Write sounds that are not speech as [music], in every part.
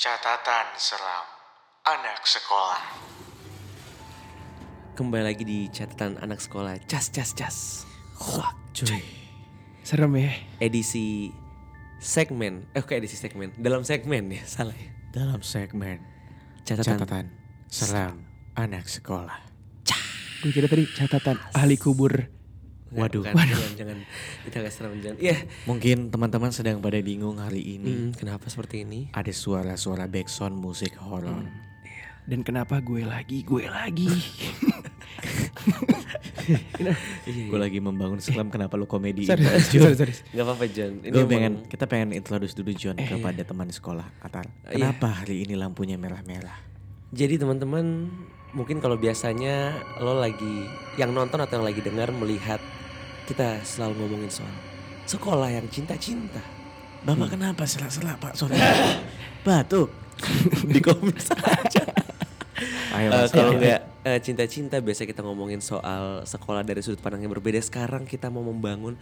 Catatan seram anak sekolah. Kembali lagi di catatan anak sekolah Cas cas cas Wah cuy Serem ya. Edisi segmen Eh kok edisi segmen Dalam segmen ya salah ya Dalam segmen Catatan, catatan seram anak sekolah. Cah. Gue kira tadi catatan ahli kubur. Nggak, Waduh, bukan, waduh. Jangan, jangan Itu agak serem jangan Iya Mungkin teman-teman sedang pada bingung hari Hmm, ini. Mm, Kenapa seperti ini Ada suara-suara backsound musik Hmm. horor. Iya. Dan kenapa gue lagi, gue lagi. Iya, [laughs] Gue lagi membangun selam kenapa lu komedi sorry, sorry, sorry. Gak apa-apa John Ini Gue emang- pengen, kita pengen introduce dulu John Eh. kepada teman sekolah Eh, Atar iya. Kenapa hari ini lampunya merah-merah? Jadi teman-teman mungkin kalau biasanya lo lagi yang nonton atau yang lagi dengar melihat kita selalu ngomongin soal sekolah yang cinta-cinta. Bapak Hmm. kenapa selak-selak pak [laughs] sore? Batuk Di komis aja Ayo Eh, Iya, Mas. kalau Ayo. nggak eh, cinta-cinta biasa kita ngomongin soal sekolah dari sudut pandang yang berbeda. Sekarang kita mau membangun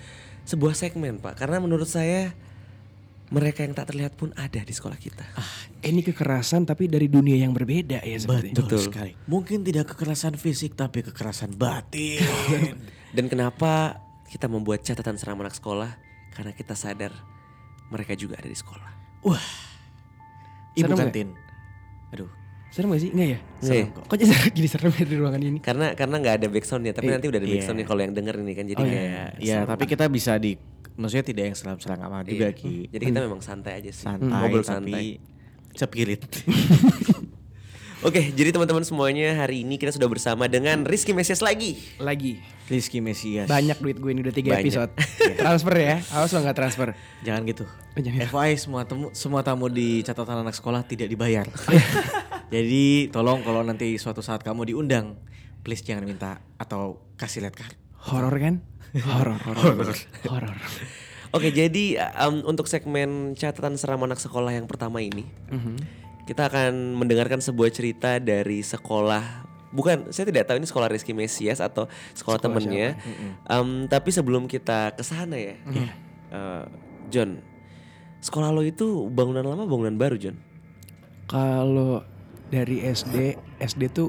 sebuah segmen pak. Karena menurut saya mereka yang tak terlihat pun ada di sekolah kita. Ah. Ini kekerasan tapi dari dunia yang berbeda ya sepertinya. Betul, sekali Mungkin tidak kekerasan fisik tapi kekerasan batin Dan kenapa kita membuat catatan seram anak sekolah? Karena kita sadar mereka juga ada di sekolah. Wah Ibu Serem nggak? kantin Aduh Serem gak sih? Enggak ya? Serem kok. jadi serem, [laughs] jadi serem ya di ruangan ini? karena karena nggak ada backsoundnya tapi Iya, nanti udah ada iya. backsoundnya kalau yang denger ini kan jadi Oh, iya, kayak Ya tapi kita bisa di Maksudnya tidak yang selam-selam amat Iya. juga Ki Hmm. jadi kita memang santai aja sih Santai ngobrol santai tapi Cepirit oke jadi teman-teman semuanya hari ini kita sudah bersama dengan Rizky Mesias lagi Lagi. Rizky Mesias. Banyak duit gue ini udah tiga Banyak. episode. transfer ya. Awas lo gak transfer. Jangan gitu. Eh, jangan. FYI semua temu semua tamu di catatan anak sekolah tidak dibayar. [laughs] Jadi tolong kalau nanti suatu saat kamu diundang, please jangan minta atau kasih lihat kartu. Horor kan? Horor, horor. horor. oke jadi um, untuk segmen catatan seram anak sekolah yang pertama ini kita akan mendengarkan sebuah cerita dari sekolah bukan saya tidak tahu ini sekolah Rizky Mesias atau sekolah, temennya Um, tapi sebelum kita ke sana ya uh, John sekolah lo itu bangunan lama bangunan baru John Kalau dari SD, SD tuh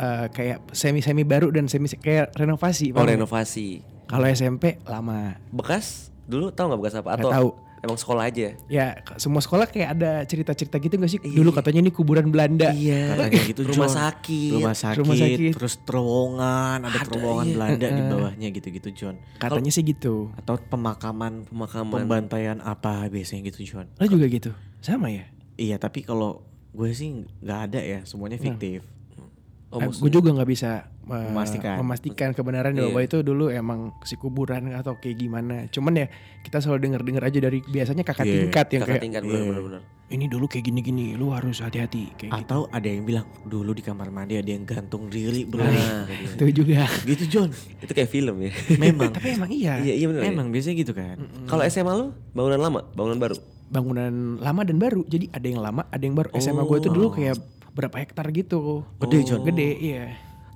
eh, kayak semi-semi baru dan semi kayak renovasi. Oh paham nggak? renovasi Kalau SMP lama. Bekas dulu tahu nggak bekas apa Nggak atau tahu. emang sekolah aja? Ya k- semua sekolah kayak ada cerita-cerita gitu gak sih? Iya. Dulu katanya ini kuburan Belanda. Katanya gitu, Rumah John. sakit. Rumah sakit, Rumah sakit. terus terowongan, ada, Ada, terowongan iya. Belanda di bawahnya gitu-gitu John. Katanya sih gitu. Atau pemakaman, Pemakaman. pembantaian apa biasanya gitu John. Lo juga gitu. Sama ya? Iya tapi kalau gue sih nggak ada ya, semuanya fiktif. Oh, Eh, maksudnya- gue juga nggak bisa eh, Memastikan. memastikan kebenaran Iya. bahwa itu dulu emang si kuburan atau kayak gimana. Cuman ya kita selalu denger-denger aja dari biasanya kakak Iya. tingkat yang kakak kayak "Eh, tingkat iya. benar-benar. ini dulu kayak gini-gini, lu harus hati-hati kayak gitu. Atau ada yang bilang dulu di kamar mandi ada yang gantung diri bro. Nah. Itu juga. gitu John. Itu kayak film ya. Memang. [laughs] Tapi emang iya. iya iya benar. ya? Memang biasanya gitu kan. Kalau SMA lo bangunan lama, bangunan baru. bangunan lama dan baru. Jadi ada yang lama, ada yang baru. SMA gue tuh dulu kayak berapa hektar gitu. Gede, John. Gede, iya.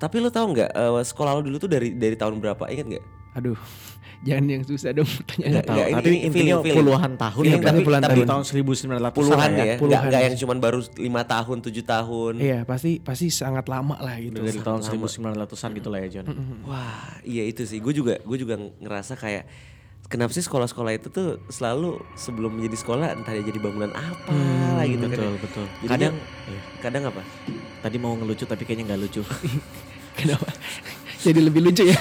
Tapi lo tahu nggak eh, sekolah lo dulu tuh dari dari tahun berapa? Ingat nggak? Aduh, [laughs] jangan yang susah dong pertanyaan. Nggak, Tahu, nggak, ini- tapi ini intinya feeling, feeling. puluhan tahun Feeling, ya, tapi- puluhan tapi dari tahun. tahun 1900 Puluhan ya, ya. nggak- puluhan. nggak yang cuman baru lima tahun tujuh tahun. Iya, pasti pasti sangat lama lah gitu. Dari tahun 1900-an gitu lah ya John. Wah, iya itu sih. Gue juga gue juga ngerasa kayak kenapa sih sekolah-sekolah itu tuh selalu sebelum menjadi sekolah entah dia jadi bangunan apa lah gitu kan. betul, ya. betul. Jadinya- Kadang iya, Kadang apa? tadi mau ngelucu tapi kayaknya nggak lucu. Kenapa? Jadi lebih lucu ya.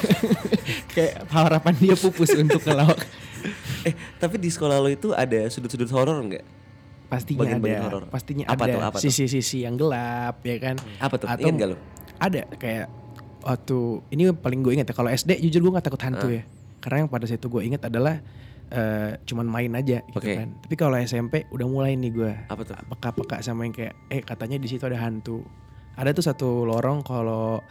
kayak harapan dia pupus untuk ngelawak. [laughs] Eh, tapi di sekolah lo itu ada sudut-sudut horor nggak? Pastinya Bagian-bagian ada. horor. Pastinya Apa tuh, ada apa tuh? Hmm. sisi-sisi yang gelap ya kan. Apa tuh? Atau Ingat nggak lo? ada kayak waktu ini paling gue inget ya kalau SD jujur gue nggak takut hantu Ah. ya karena yang pada saat itu gue inget adalah eh, cuman main aja gitu Oke. kan tapi kalau SMP udah mulai nih gue Apa tuh? peka-peka sama yang kayak eh katanya di situ ada hantu ada tuh satu lorong kalau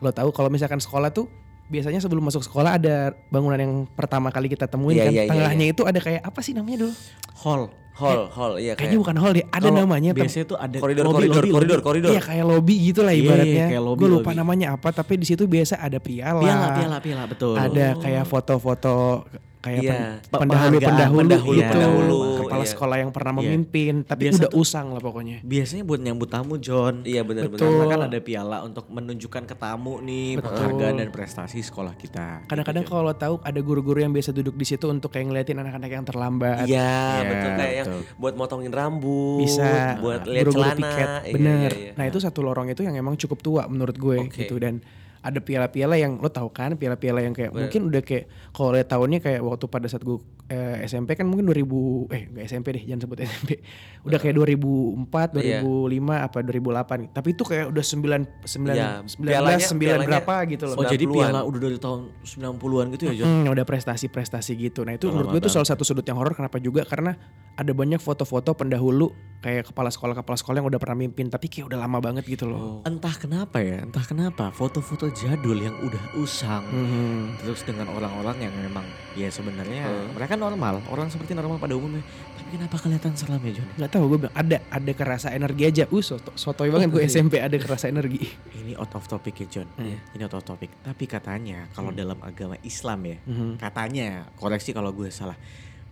lo tahu kalau misalkan sekolah tuh biasanya sebelum masuk sekolah ada bangunan yang pertama kali kita temuin Iya, kan iya, iya, tengahnya itu ada kayak apa sih namanya dulu [laughs] Hall. Hall, hall, iya kayaknya kayak. bukan hall deh ada Kalau namanya Iya, tem- biasanya tuh ada Koridor, lobby, koridor, lobby, koridor, lobby. koridor. Iya kayak lobby gitu lah Iya, iya, ibaratnya. kayak lobby, Gue lupa lobby. namanya apa tapi di situ biasa ada piala. Piala, piala, piala, betul. Oh. Ada kayak foto-foto kayak Iya. pen- pendahulu pendahulu, Pendahulu- gitu. pendahulu, kepala iya. sekolah yang pernah Iya. memimpin tapi Biasa Iya, udah usang lah pokoknya Biasanya buat nyambut tamu John. Iya benar-benar. Betul. Karena kan ada piala untuk menunjukkan ke tamu nih Betul. penghargaan dan prestasi sekolah kita. kadang-kadang Gitu, John. kalau tahu ada guru-guru yang biasa duduk di situ untuk kayak ngeliatin anak-anak yang terlambat Iya Iya, betul kayak yang betul. buat motongin rambut, bisa buat lihat buru-buru celana, piket Iya, bener iya, iya. nah itu satu lorong itu yang emang cukup tua menurut gue Oke. gitu dan ada piala-piala yang lo tau kan piala-piala yang kayak mungkin udah kayak kalau lihat tahunnya kayak waktu pada saat gue eh, SMP kan mungkin 2000 eh gak SMP deh jangan sebut SMP [laughs] udah kayak 2004 Iya. 2005 apa 2008 tapi itu kayak udah 9 9 Iya, 19 pialanya- 9 pialanya- berapa gitu loh Oh jadi 90-an. piala udah dari tahun 90-an gitu ya John? Hmm, udah prestasi-prestasi gitu. Nah itu Lama menurut gue itu banget. salah satu sudut yang horor. Kenapa juga? Karena ada banyak foto-foto pendahulu kayak kepala sekolah-kepala sekolah yang udah pernah mimpin, tapi kayak udah lama banget gitu Oh. loh. Entah kenapa ya, entah kenapa foto-foto jadul yang udah usang Mhm. terus dengan orang-orang yang memang ya sebenarnya mereka normal, orang seperti normal pada umumnya. Tapi kenapa kelihatan seram ya John? Gak tau gue bilang ada ada kerasa energi aja. Uh soto, sotoy banget gue SMP ada kerasa energi. Ini out of topic ya John. Iya. Ini out of topic. Tapi katanya kalau dalam agama Islam ya, Mhm. katanya koreksi kalau gue salah.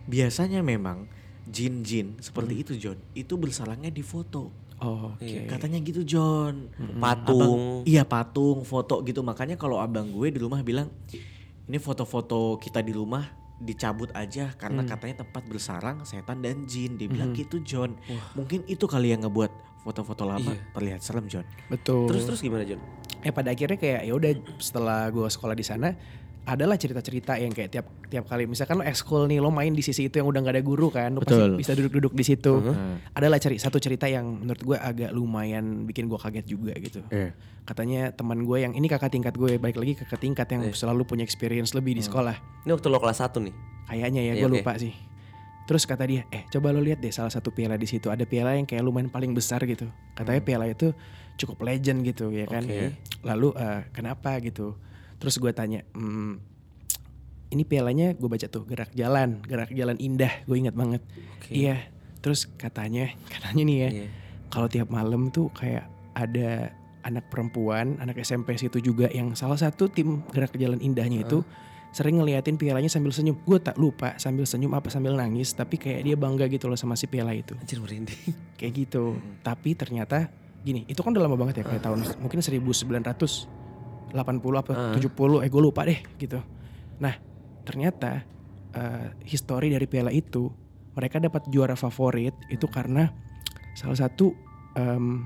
Biasanya memang jin-jin seperti itu John, itu bersalahnya di foto. Oh, Oke. Hmm, Iya. Katanya gitu John. Patung. Abang- iya patung, foto gitu. Makanya kalau abang gue di rumah bilang, ini foto-foto kita di rumah dicabut aja karena katanya tempat bersarang setan dan jin. Dia bilang gitu John. Mungkin itu kali yang ngebuat foto-foto lama terlihat serem John. Betul. Terus terus gimana John? eh pada akhirnya kayak ya udah setelah gue sekolah di sana adalah cerita-cerita yang kayak tiap tiap kali misalkan lo ekskul nih lo main di sisi itu yang udah nggak ada guru kan lo Betul. Uh-huh. pasti bisa duduk-duduk di situ adalah ceri satu cerita yang menurut gue agak lumayan bikin gue kaget juga gitu Eh. katanya teman gue yang ini kakak tingkat gue balik lagi kakak tingkat Eh. yang selalu punya experience Hmm. lebih di sekolah Ini waktu lo kelas 1 nih. kayaknya ya Iya, gue oke. lupa sih terus kata dia eh coba lo lihat deh salah satu piala di situ ada piala yang kayak lumayan paling besar gitu katanya piala itu cukup legend gitu ya kan Hmm. Oke. lalu eh, kenapa gitu terus gue tanya "Hmm, ini pialanya gue baca tuh gerak jalan gerak jalan indah gue ingat banget Oke. iya terus katanya [laughs] katanya nih ya Iya. kalau tiap malam tuh kayak ada anak perempuan, anak SMP situ juga yang salah satu tim gerak ke jalan indahnya itu sering ngeliatin pialanya sambil senyum. Gue tak lupa sambil senyum apa sambil nangis, tapi kayak dia bangga gitu loh sama si piala itu. Anjir [laughs] merinding. Kayak gitu. Tapi ternyata gini, itu kan udah lama banget ya kayak tahun mungkin 1980 apa 70, eh gue lupa deh gitu. Nah, ternyata eh, histori dari piala itu mereka dapat juara favorit itu karena salah satu em,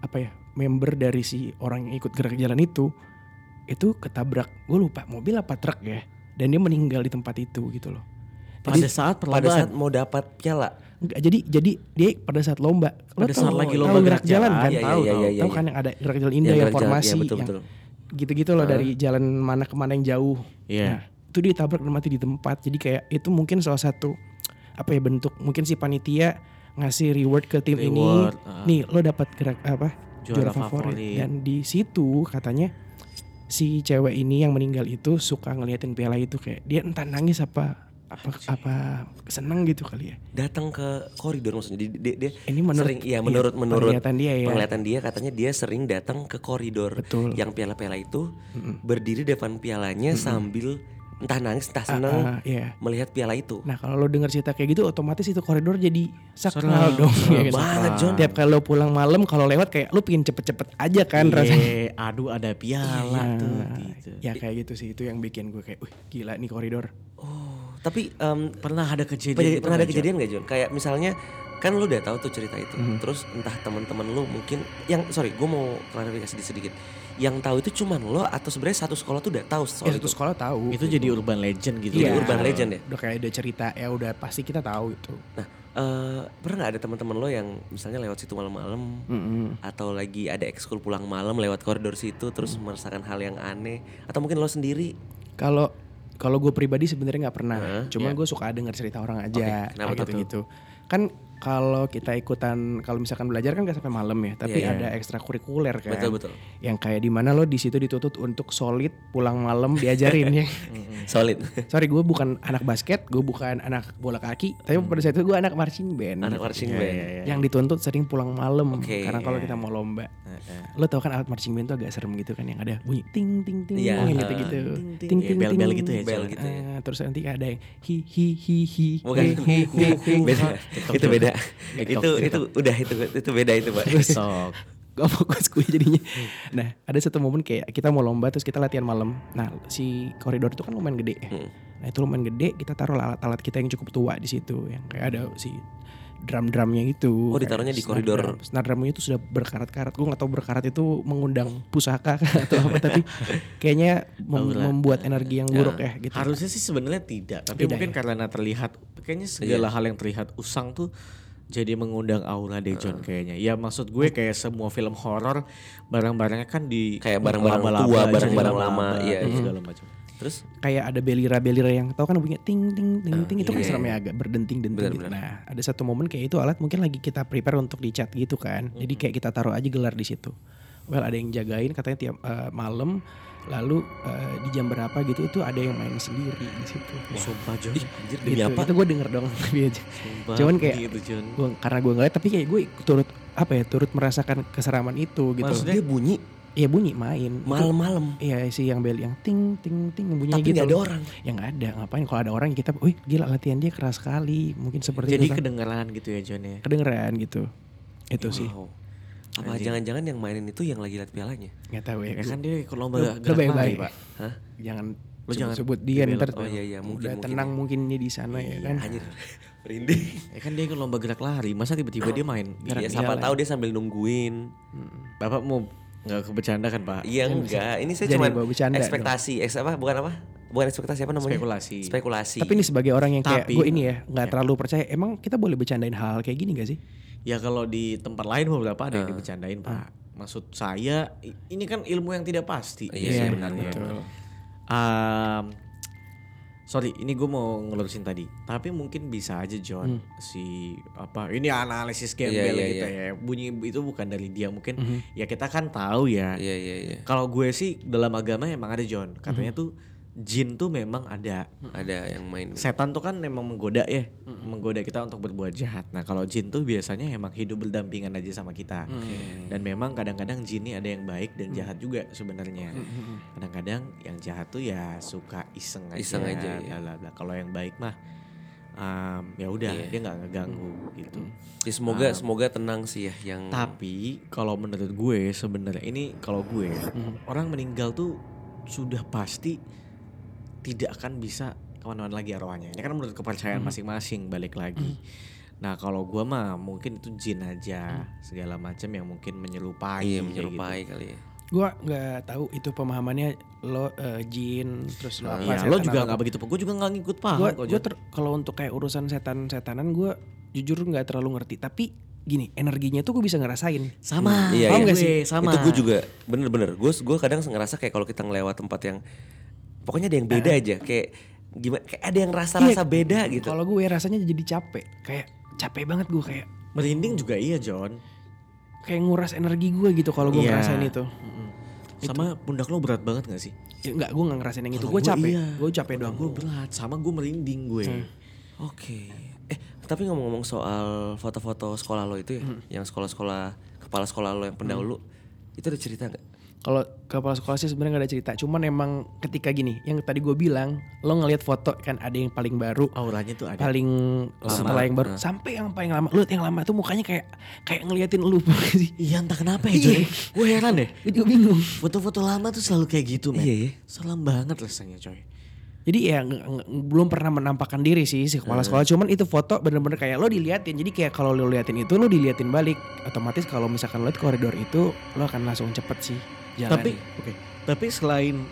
apa ya member dari si orang yang ikut gerak jalan itu itu ketabrak gue lupa mobil apa truk ya dan dia meninggal di tempat itu gitu loh Pada saat Pada perlombaan. saat mau dapat piala. Enggak, jadi jadi dia pada saat lomba lo Pada tau- saat lagi tau lomba gerak gerak jalan, jalan, kan iya, iya, tahu tahu. iya, iya, Tahu iya. kan yang ada gerak jalan Iya, indah yang gerak jalan. Iya, formasi betul, yang betul. gitu-gitu loh dari jalan mana ke mana yang jauh Iya. nah itu dia tabrak dan mati di tempat jadi kayak itu mungkin salah satu apa ya bentuk mungkin si panitia ngasih reward ke tim Reward, ini ah. nih lo dapat gerak apa Juara favorit. dan di situ katanya si cewek ini yang meninggal itu suka ngeliatin piala itu kayak dia entah nangis apa apa apa seneng gitu kali ya Datang ke koridor maksudnya. Di- di- dia Ini menurut- sering, iya iya, menurut menurut penglihatan dia ya. penglihatan dia katanya dia sering datang ke koridor Betul. yang piala-piala itu berdiri depan pialanya sambil entah nangis entah senang ah, iya. melihat piala itu. Nah kalau lo denger cerita kayak gitu otomatis itu koridor jadi sakral Serem, dong [laughs] serem ya kan? banget, John. Tiap kalau pulang malam kalau lewat kayak lo pingin cepet-cepet aja kan Iya, rasanya aduh ada piala Nah, tuh gitu. Ya kayak gitu sih itu yang bikin gue kayak wih gila nih koridor Oh, tapi em, Pernah ada kejadian Pernah- gitu pernah ada nggak, John? kejadian nggak John? Kayak misalnya kan lu udah tahu tuh cerita itu, Hmm. terus entah teman-teman lu mungkin yang sorry gue mau klarifikasi di sedikit, yang tahu itu cuman lo atau sebenarnya satu sekolah tuh udah tahu soal Ya itu. satu sekolah tahu Iya. Itu jadi urban legend gitu. Jadi ya. urban [laughs] legend ya. Udah kayak ada cerita ya udah pasti kita tahu itu Nah eh, pernah nggak ada teman-teman lo yang misalnya lewat situ malam-malam Hmm. atau lagi ada ekskul pulang malam lewat koridor situ terus Hmm. merasakan hal yang aneh atau mungkin lo sendiri? Kalau kalau gue pribadi sebenarnya nggak pernah. Cuma iya. gue suka denger cerita orang aja Oke, kenapa kayak gitu-gitu. Kan kalau kita ikutan kalau misalkan belajar kan gak sampai malam ya, tapi Iya, iya. ada ekstrakurikuler kan. Betul betul. Yang kayak di mana lo di situ dituntut untuk solid pulang malam diajarin [laughs] ya. Hmm. [laughs] Solid. Sorry gue bukan anak basket, gue bukan anak bola kaki, tapi pada saat itu gue anak marching Hmm. band. Iya, Anak marching band. iya, Yang dituntut sering pulang malam Oke, karena kalau iya. kita mau lomba. Heeh. Lo tau kan alat marching band tuh agak serem gitu kan yang ada bunyi ting ting ting Iya. yang gitu-gitu. Ting, ting, Ting iya, ting bel-bel ting. gitu ya, Bel Cel. gitu ya. Ah, terus nanti ada yang hi hi hi hi. Bukan. hi, hi, hi, [laughs] hi. beda. TikTok itu juga. beda. [laughs] TikTok, itu gitu. itu udah itu itu [laughs] beda itu [laughs] pak. Besok. Gak fokus gue jadinya. Hmm. Nah, ada satu momen kayak kita mau lomba terus kita latihan malam. Nah, si koridor itu kan lumayan gede ya. Hmm. Nah, itu lumayan gede, kita taruh alat-alat kita yang cukup tua di situ yang kayak ada si drum-drumnya gitu. Oh, ditaruhnya di Kayak koridor. Drum. Snare drumnya itu sudah berkarat-karat. Gue gak tahu berkarat itu mengundang pusaka [laughs] kah atau apa [laughs] tapi kayaknya mem- Aura. membuat energi yang buruk Nah, ya gitu. Harusnya sih sebenarnya tidak, tapi ya? Tidak, mungkin karena terlihat kayaknya segala Iya. hal yang terlihat usang tuh jadi mengundang aura deh John kayaknya. Ya maksud gue kayak semua film horor barang-barangnya kan di Kayak barang-barang laba-laba, tua, jadi barang-barang laba-laba, lama, iya, dan iya. segala macam. Terus kayak ada belira-belira yang tau kan bunyinya ting ting ting ting itu kan iya, serem iya. ya agak berdenting-denting Benar, gitu. benar. Nah, ada satu momen kayak itu alat mungkin lagi kita prepare untuk dicat gitu kan. Jadi kayak kita taruh aja gelar di situ. Well, ada yang jagain katanya tiap eh, malam lalu eh, di jam berapa gitu itu ada yang main sendiri di situ. Sumpah John, anjir Gitu. demi apa? Itu gue denger dong [laughs] tapi aja. Sumpah, Cuman kayak- gitu John. Gua, karena gue ngeliat tapi kayak gue turut apa ya turut merasakan keseraman itu gitu. dia Maksudnya- bunyi Iya bunyi main. Itu- malam-malam. Iya sih yang bel yang ting ting ting bunyinya Tapi gitu. nggak ada orang. yang ada ngapain kalau ada orang kita wih gila latihan dia keras sekali mungkin seperti Jadi itu kan. kedengeran gitu ya John ya. kedengeran gitu itu sih Wow. Apa Anjing. jangan-jangan yang mainin itu yang lagi lihat pialanya? nggak tahu ya Iya. Ya kan kan dia ikut lomba lo, lo gerak baik lari, baik Pak. ya? Hah? jangan Lo jangan sebut, sebut dia dibelot. ntar Oh iya iya mungkin udah mungkin. Iya, tenang mungkinnya di sana ya kan Anjir. [laughs] Merinding. Ya kan dia ikut lomba gerak lari, masa tiba-tiba dia main? Iya, Iya, siapa tahu dia sambil nungguin. Nah, Hmm. Bapak mau nggak kebercanda kan Pak? Iya enggak, ini saya Jadi cuma bawa bercanda gitu. dong. ekspektasi, eks apa bukan apa? Bukan ekspektasi apa namanya? Spekulasi. Spekulasi. tapi ini sebagai orang yang kayak Tapi- gue ini ya nggak Iya. terlalu percaya emang kita boleh bercandain hal, -hal kayak gini gak sih Ya kalau di tempat lain beberapa ada yang dibercandain Pak. Maksud saya i- ini kan ilmu yang tidak pasti Iya, sih iya, sebenarnya. betul. Um, sorry, ini gue mau ngelurusin tadi. Tapi mungkin bisa aja John si apa ini analisis Hmm. Iya, gembel iya, kita ya. Bunyi itu bukan dari dia mungkin. Mhm. Ya kita kan tahu ya. Iya iya iya. Kalau gue sih dalam agama emang ada John. Katanya Hmm. tuh jin tuh memang ada. Ada yang main. Setan tuh kan memang menggoda ya, menggoda kita untuk berbuat jahat. Nah kalau jin tuh biasanya emang hidup berdampingan aja sama kita. Dan memang kadang-kadang jin ini ada yang baik dan jahat juga sebenarnya. Mhm. Kadang-kadang yang jahat tuh ya suka iseng aja. Iseng aja, iya. bla bla bla. Kalau yang baik mah um, ya udah Iya. dia nggak ngeganggu gitu. Ya, semoga semoga tenang sih ya yang Tapi kalau menurut gue sebenarnya ini kalau gue ya, Mhm. orang meninggal tuh sudah pasti tidak akan bisa kemana-mana lagi arwahnya. Ini kan menurut kepercayaan masing-masing balik lagi. Nah kalau gue mah mungkin itu jin aja segala macam yang mungkin menyerupai. iya kayak gitu. menyerupai kali ya. gue nggak tahu itu pemahamannya lo eh, jin terus Gitu. lo apa Iya, setan lo juga apa. nggak begitu, gue juga nggak ngikut paham. gue Ah, kok, gue Jod. kalau untuk kayak urusan setan-setanan gue jujur nggak terlalu ngerti tapi gini energinya tuh gue bisa ngerasain sama, Iya, paham iya. nggak sih? Sama. Itu gue juga bener-bener. Gue gue kadang ngerasa kayak kalau kita ngelewat tempat yang pokoknya ada yang Nah. beda aja. Kayak gimana? Kayak ada yang Iya. rasa-rasa beda Hmm, gitu. Iya, mm, kalau gue rasanya jadi capek kayak capek banget gue kayak Merinding juga iya John. kayak nguras energi gue gitu kalau gue Iya. ngerasain itu Sama pundak lo berat banget gak sih? ya, nggak gue nggak ngerasain yang itu Kalau gue capek iya. gue capek Pundak doang Gue berat, sama gue merinding gue. Oke. Eh, tapi ngomong-ngomong soal foto-foto sekolah lo itu ya, Hmm. yang sekolah-sekolah kepala sekolah lo yang pendahulu, itu ada cerita nggak? kalau kepala sekolah sih sebenarnya nggak ada cerita cuman emang ketika gini yang tadi gue bilang lo ngelihat foto kan ada yang paling baru auranya tuh Oh, ada. Nah. paling setelah yang baru sampai yang paling lama lu liat yang lama tuh mukanya kayak kayak ngeliatin lu [laughs] paham nggak sih Iya entah kenapa ya John. gue heran deh. gue juga bingung Foto-foto lama tuh selalu kayak gitu men. Iya, iya. Selam banget rasanya coy. Jadi ya nge- nge- belum pernah menampakkan diri sih si kepala sekolah. Cuman itu foto bener-bener kayak lo diliatin. Jadi kayak kalau lo liatin itu lo diliatin balik. Otomatis kalau misalkan lo liat koridor itu lo akan langsung cepet sih. Jalan. Tapi oke. Tapi selain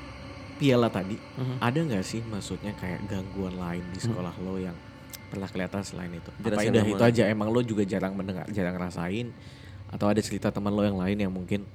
piala tadi, Mhm. ada nggak sih maksudnya kayak gangguan lain di sekolah lo yang pernah kelihatan selain itu? Apa Hmm. Jelasin udah sama- itu aja emang lo juga jarang mendengar, jarang ngerasain atau ada cerita teman lo yang lain yang mungkin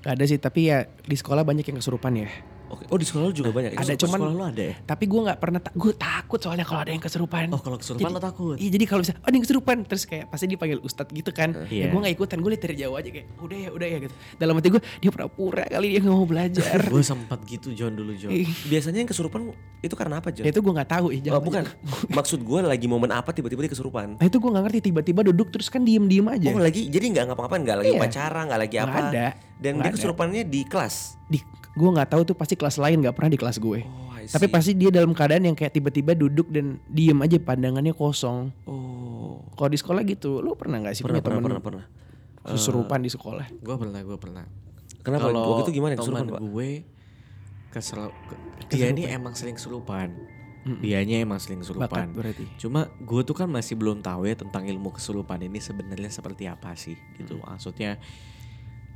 Gak ada sih. Tapi ya di sekolah banyak yang kesurupan ya. Oke. Oh di sekolah lu juga banyak. Ada Sekolah- cuman sekolah lu ada ya? Tapi gue nggak pernah ta- gue takut soalnya kalau ada yang kesurupan. Oh, kalau kesurupan Jadi- lo takut? Iya jadi kalau bisa ada yang kesurupan terus kayak pasti dipanggil ustadz gitu kan. Iya. gue nggak ikutan gue lihat dari jauh aja kayak udah ya udah ya gitu. Dalam hati gue dia pura-pura kali dia nggak mau Iya. belajar. [laughs] gue sempat gitu John dulu John. Ih, Biasanya yang kesurupan itu karena apa John? ya itu gue nggak tahu ih. Oh, jangan- gitu. bukan. [laughs] Maksud gue lagi momen apa tiba-tiba dia kesurupan? Nah itu gue nggak ngerti tiba-tiba duduk terus kan diem-diem aja. Oh lagi jadi nggak ngapa-ngapain nggak lagi Iya. pacaran nggak lagi Nggak apa? ada. Dan Nggak dia ada. kesurupannya di kelas. di gue nggak tahu tuh pasti kelas lain nggak pernah di kelas gue. Oh, I Tapi see. pasti dia dalam keadaan yang kayak tiba-tiba duduk dan diem aja pandangannya kosong. Oh Kalau di sekolah gitu, lu pernah nggak sih pernah pernah punya temen pernah pernah. kesurupan di sekolah? Gue pernah, gue pernah. Kenapa? Kalau Waktu itu gimana yang kesurupan, teman Pak? gue kesel, ke- dia ini emang sering kesurupan. Dianya emang sering Bakat kesurupan. berarti. Cuma gue tuh kan masih belum tahu ya tentang ilmu kesurupan ini sebenarnya seperti apa sih gitu. Maksudnya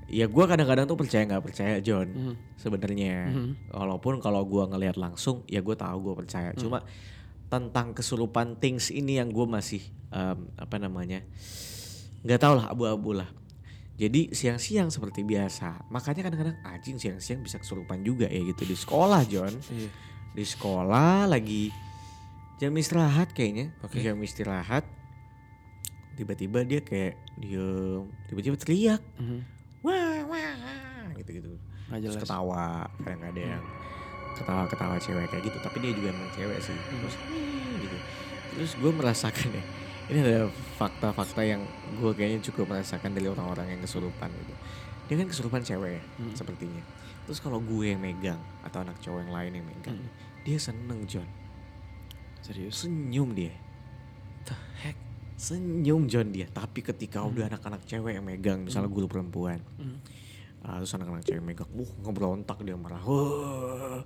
ya gue kadang-kadang tuh percaya nggak percaya John Hmm. Mm-hmm, sebenarnya. Walaupun kalau gue ngelihat langsung ya gue tahu gue percaya. Cuma tentang kesurupan things ini yang gue masih em, apa namanya nggak tahu lah abu-abu lah. Jadi siang-siang seperti biasa. Makanya kadang-kadang anjing siang-siang bisa kesurupan juga ya gitu di sekolah John. Di sekolah lagi jam istirahat kayaknya. Jam istirahat tiba-tiba dia kayak diem, tiba-tiba teriak. Wah, wah, wah, gitu-gitu. mm-hmm. Nggak Terus jelas. Hmm. ketawa kadang-kadang. Ketawa-ketawa cewek kayak gitu, tapi dia juga emang cewek sih. Terus "Hmm," gitu. Terus gue merasakan ya, ini ada fakta-fakta yang gue kayaknya cukup merasakan dari orang-orang yang kesurupan gitu. Dia kan kesurupan cewek ya, Hmm. sepertinya. Terus kalau gue yang megang atau anak cowok yang lain yang megang, dia seneng John. Hmm. Serius? Senyum dia. Senyum John dia. Tapi ketika udah anak-anak cewek yang megang, misalnya guru perempuan. Ah, terus anak-anak cewek yang megang, uh ngebrontak dia marah. Wah.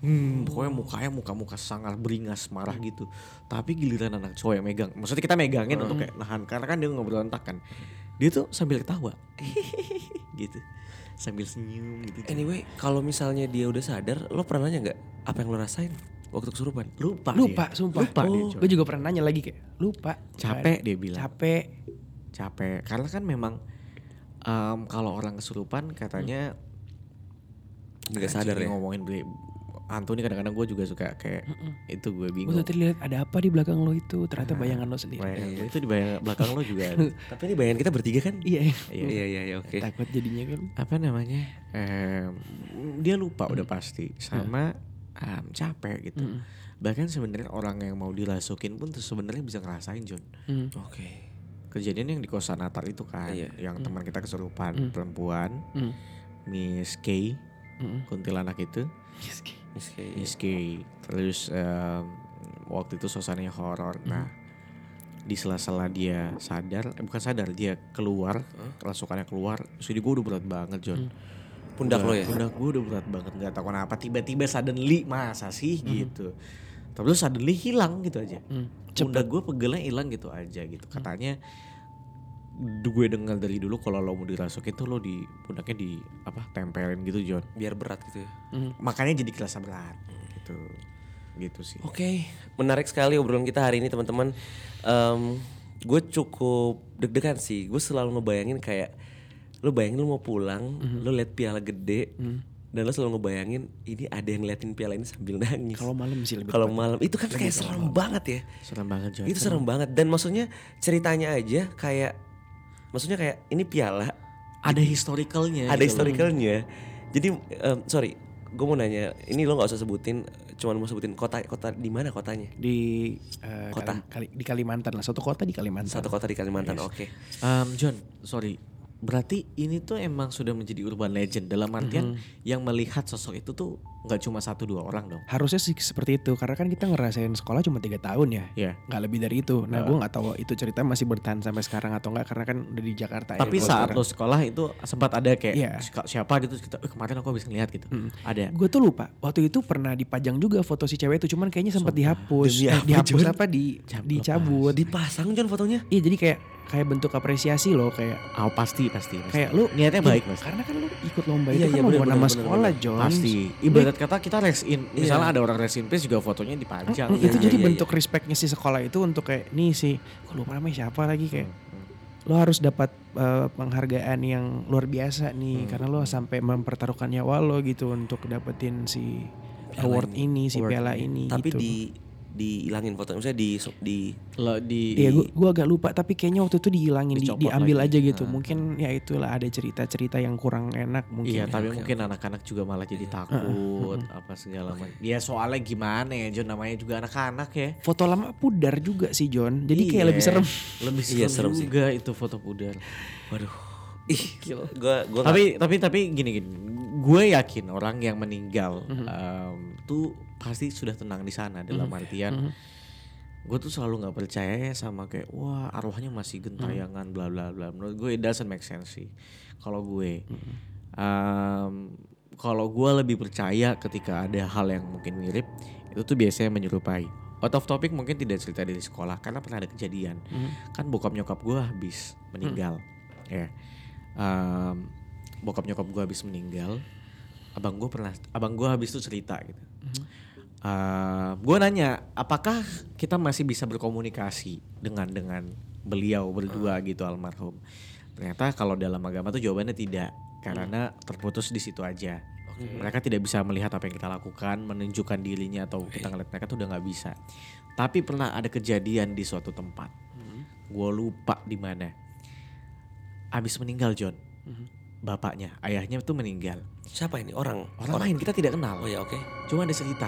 Hmm, pokoknya mukanya muka-muka sangat beringas marah gitu. Tapi giliran anak cowok yang megang, maksudnya kita megangin untuk kayak nahan karena kan dia ngebrontak kan. Dia tuh sambil ketawa. gitu. Sambil senyum gitu. John. Anyway, kalau misalnya dia udah sadar, lo pernah nanya nggak apa yang lo rasain waktu kesurupan? lupa dia. Lupa, sumpah. Lupa dia, John. gue juga pernah nanya lagi kayak lupa. Capek dia bilang. Capek. capek karena kan memang em, kalau orang kesurupan katanya Nggak Anjing, sadar ini ya? ngomongin beli hantu nih kadang-kadang gue juga suka kayak itu gue Gue bingung tadi lihat ada apa di belakang lo itu ternyata bayangan lo sendiri. Bayangan gua itu di bayang- belakang lo juga ada. Tapi ini bayangan kita Iya, [laughs] bertiga kan? Iya. Iya iya iya, iya, oke. Takut jadinya kan. apa namanya em, dia lupa udah pasti sama em, capek Hmm. gitu bahkan sebenarnya orang yang mau dirasukin pun tuh sebenarnya bisa ngerasain John Oke. kejadian yang di kosan Natal itu kan Iya. yang teman kita kesurupan perempuan Miss K kuntilanak itu Miss Kay. Miss Kay. Terus em, waktu itu suasananya horor. Hmm. Nah, di sela-sela dia sadar, eh, bukan sadar, dia keluar, kerasukannya keluar. Jadi gue udah berat banget, John. Hmm. Pundak lo Udah- ya? Pundak gue udah berat banget, nggak tahu kenapa. Tiba-tiba suddenly, masa sih Hmm. gitu. Terus suddenly hilang gitu aja. Mm. Pundak gue pegelnya hilang gitu aja gitu. Hmm. Katanya gue dengar dari dulu kalau lo mau dirasukin tuh lo di pundaknya di apa tempelin gitu John Biar berat gitu ya. makanya jadi kerasa berat gitu gitu sih Oke, menarik sekali obrolan kita hari ini teman-teman. gue cukup deg-degan sih. Gue selalu ngebayangin kayak lu bayangin lu mau pulang, lu lihat piala gede, dan lu selalu ngebayangin ini ada yang liatin piala ini sambil nangis. Kalau malam sih lebih. Kalau malam itu kan kayak serem banget ya. serem banget John Itu serem banget dan maksudnya ceritanya aja kayak maksudnya kayak ini piala ada historicalnya ada gitu loh. historicalnya. Jadi em, sorry, gue mau nanya, ini lo nggak usah sebutin, cuman mau sebutin kota kota di mana kotanya? Di eh, Kota. Kalim- Kali, di Kalimantan lah. Satu kota di Kalimantan. Satu kota di Kalimantan, oke. Em, John sorry berarti ini tuh emang sudah menjadi urban legend dalam Hmm. ya? artian yang melihat sosok itu tuh nggak cuma satu dua orang dong Harusnya sih seperti itu karena kan kita ngerasain sekolah cuma tiga tahun ya. ya nggak lebih dari itu. Nah, gue nggak tahu itu cerita masih bertahan sampai sekarang atau enggak karena kan udah di Jakarta. ya, tapi gua saat sekarang. lo sekolah itu sempat ada kayak Iya. "Sika- siapa gitu terus kita "Eh, kemarin aku habis ngeliat gitu ada Gue tuh lupa. Waktu itu pernah dipajang juga foto si cewek itu, cuman kayaknya sempat dihapus. Demi Eh, apa, dihapus Jun? apa di Cabut. dicabut. Dipasang John fotonya? Iya, jadi kayak kayak bentuk apresiasi loh kayak oh pasti pasti, pasti. kayak lu niatnya baik Iya, pasti Karena kan lu ikut lomba Iya, itu iya, kan bener, membawa nama bener, bener, sekolah, John. pasti ibarat kata kita rest in misalnya ada orang rest in peace juga fotonya dipajang ya. Mm, itu iya, jadi iya, bentuk respectnya si sekolah itu untuk kayak nih si gue lupa namanya siapa lagi kayak lo harus dapat eh, penghargaan yang luar biasa nih karena lo sampai mempertaruhkan nyawa lo gitu untuk dapetin si Piala award ini, si Award piala ini Tapi gitu. di dihilangin fotonya misalnya di di [laughs] Lo di Iya, gue agak lupa tapi kayaknya waktu itu dihilangin, di- Dicopot diambil lagi. aja gitu. Mungkin ya itulah ada cerita-cerita yang kurang enak mungkin. Iya, Iya. ya. tapi mungkin anak-anak juga malah jadi takut apa segala macam. Ya soalnya gimana ya, John namanya juga anak-anak ya. Foto lama pudar juga sih John. Jadi kayak lebih Iya, serem. Lebih serem, Iya, serem sih. juga itu foto pudar. Waduh. ih gue gue tapi tapi tapi gini gini. Gue yakin orang yang meninggal Mhm. em, tuh pasti sudah tenang di sana dalam artian Mm-hmm. gue tuh selalu nggak percaya ya sama kayak wah arwahnya masih gentayangan bla bla bla menurut gue it doesn't make sense sih kalau gue Em, kalau gue lebih percaya ketika ada hal yang mungkin mirip itu tuh biasanya menyerupai out of topic mungkin tidak cerita dari sekolah karena pernah ada kejadian Mm-hmm. kan bokap nyokap gue habis meninggal ya Em, bokap nyokap gue habis meninggal abang gue pernah abang gue habis tuh cerita gitu gue nanya apakah kita masih bisa berkomunikasi dengan dengan beliau berdua gitu almarhum ternyata kalau dalam agama tuh jawabannya tidak karena terputus di situ aja mereka tidak bisa melihat apa yang kita lakukan menunjukkan dirinya atau kita ngeliat mereka tuh udah nggak bisa tapi pernah ada kejadian di suatu tempat gue lupa di mana abis meninggal John bapaknya ayahnya tuh meninggal siapa ini orang orang lain kita tidak kenal oh ya oke Cuma ada cerita,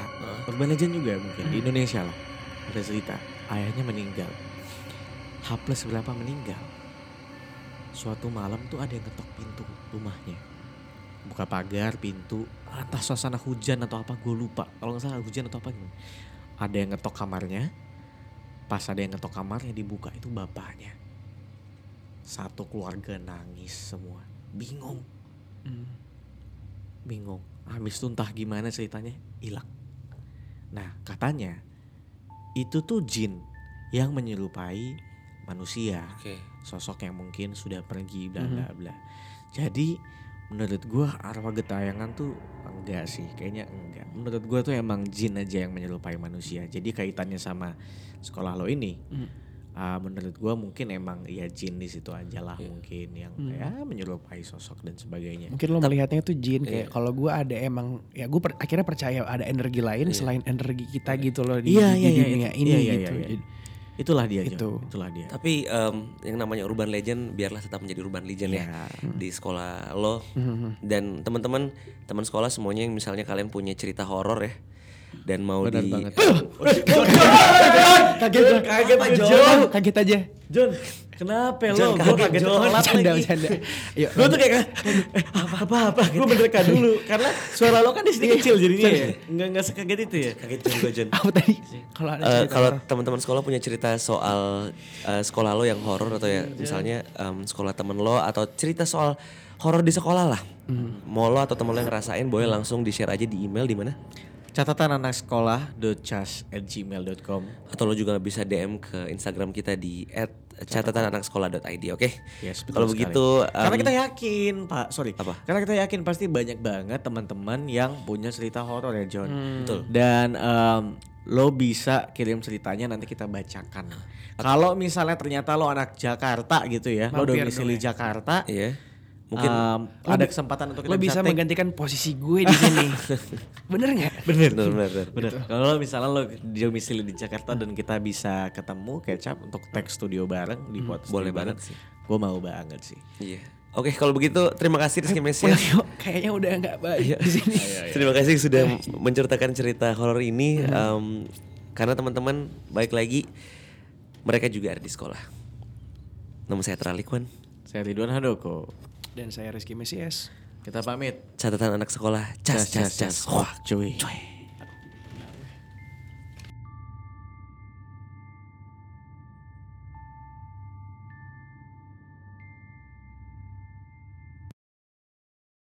urban legend juga mungkin di Indonesia lah. Ada cerita, ayahnya meninggal. H plus berapa meninggal? Suatu malam tuh ada yang ketok pintu rumahnya. Buka pagar, pintu, atas suasana hujan atau apa gue lupa. Kalau nggak salah hujan atau apa gimana. Ada yang ngetok kamarnya. Pas ada yang ngetok kamarnya dibuka itu bapaknya. Satu keluarga nangis semua. Bingung Mm-hmm. bingung habis tuh entah gimana ceritanya hilang nah katanya itu tuh jin yang menyerupai manusia oke sosok yang mungkin sudah pergi bla bla bla jadi menurut gua arwah getayangan tuh enggak sih kayaknya enggak menurut gua tuh emang jin aja yang menyerupai manusia jadi kaitannya sama sekolah lo ini ah, menurut gua mungkin emang ya jin di situ aja lah mungkin yang ya menyerupai sosok dan sebagainya Mungkin lo melihatnya itu jin Iya. kayak kalau gue ada emang ya gue per- akhirnya percaya ada energi lain selain energi kita gitu loh di, Iya, di- iya, di iya, dunia itu- ini iya, iya, gitu. iya, iya. Jadi- Itulah dia, Itu. Jon. Itulah dia. tapi em, yang namanya urban legend biarlah tetap menjadi urban legend Iya. Mm-hmm. ya di sekolah lo dan teman-teman teman sekolah semuanya yang misalnya kalian punya cerita horor ya dan mau Benar di banget. Kaget John, kaget apa, John? Kaget aja. John, kenapa John, lo? Gue kaget, kaget John. telat Bercanda, lagi. bercanda. Yuk, Gue tuh kayak, eh, apa apa apa. Gue mendekat dulu karena suara lo kan di sini kecil jadinya ya. Nggak nggak sekaget itu ya. kaget juga Jon Apa tadi? Kalau ada Eh, cerita kalau teman-teman sekolah punya cerita soal eh, sekolah lo yang horor atau Hmm, ya misalnya iya. em, sekolah temen lo atau cerita soal horor di sekolah lah, Hmm. mau lo atau temen lo yang ngerasain boleh langsung di share aja di email di mana? Catatan anak sekolah docas@gmail.com. Atau lo juga bisa DM ke Instagram kita di @catatananaksekolah.id oke? Yes, betul Kalau sekali. begitu, karena em, kita yakin, Pak. Sorry. Apa? Karena kita yakin pasti banyak banget teman-teman yang punya cerita horor ya, John. Betul. Dan em, lo bisa kirim ceritanya nanti kita bacakan. Kalau misalnya ternyata lo anak Jakarta gitu ya, lo Mampir domisili Jakarta, iya, mungkin mungkin ada kesempatan untuk kita lo bisa take. menggantikan posisi gue di [laughs] sini. Bener nggak? bener bener. bener. Bener. Kalau misalnya lo domisili di Jakarta dan kita bisa ketemu kecap untuk tag studio bareng di podcast boleh studio bareng, banget sih. Gue mau banget sih. Iya. Oke, kalau begitu terima kasih Rizky Mesias. Pulang yuk, kayaknya udah nggak Iya. baik di sini. Terima kasih sudah menceritakan cerita horor ini. Em, karena teman-teman baik lagi mereka juga ada di sekolah. Nama saya Tralikwan. Saya Ridwan Handoko. Dan saya Rizky Mesias. Kita pamit. Catatan anak sekolah. Cas cas cas. Wah, cuy. cuy.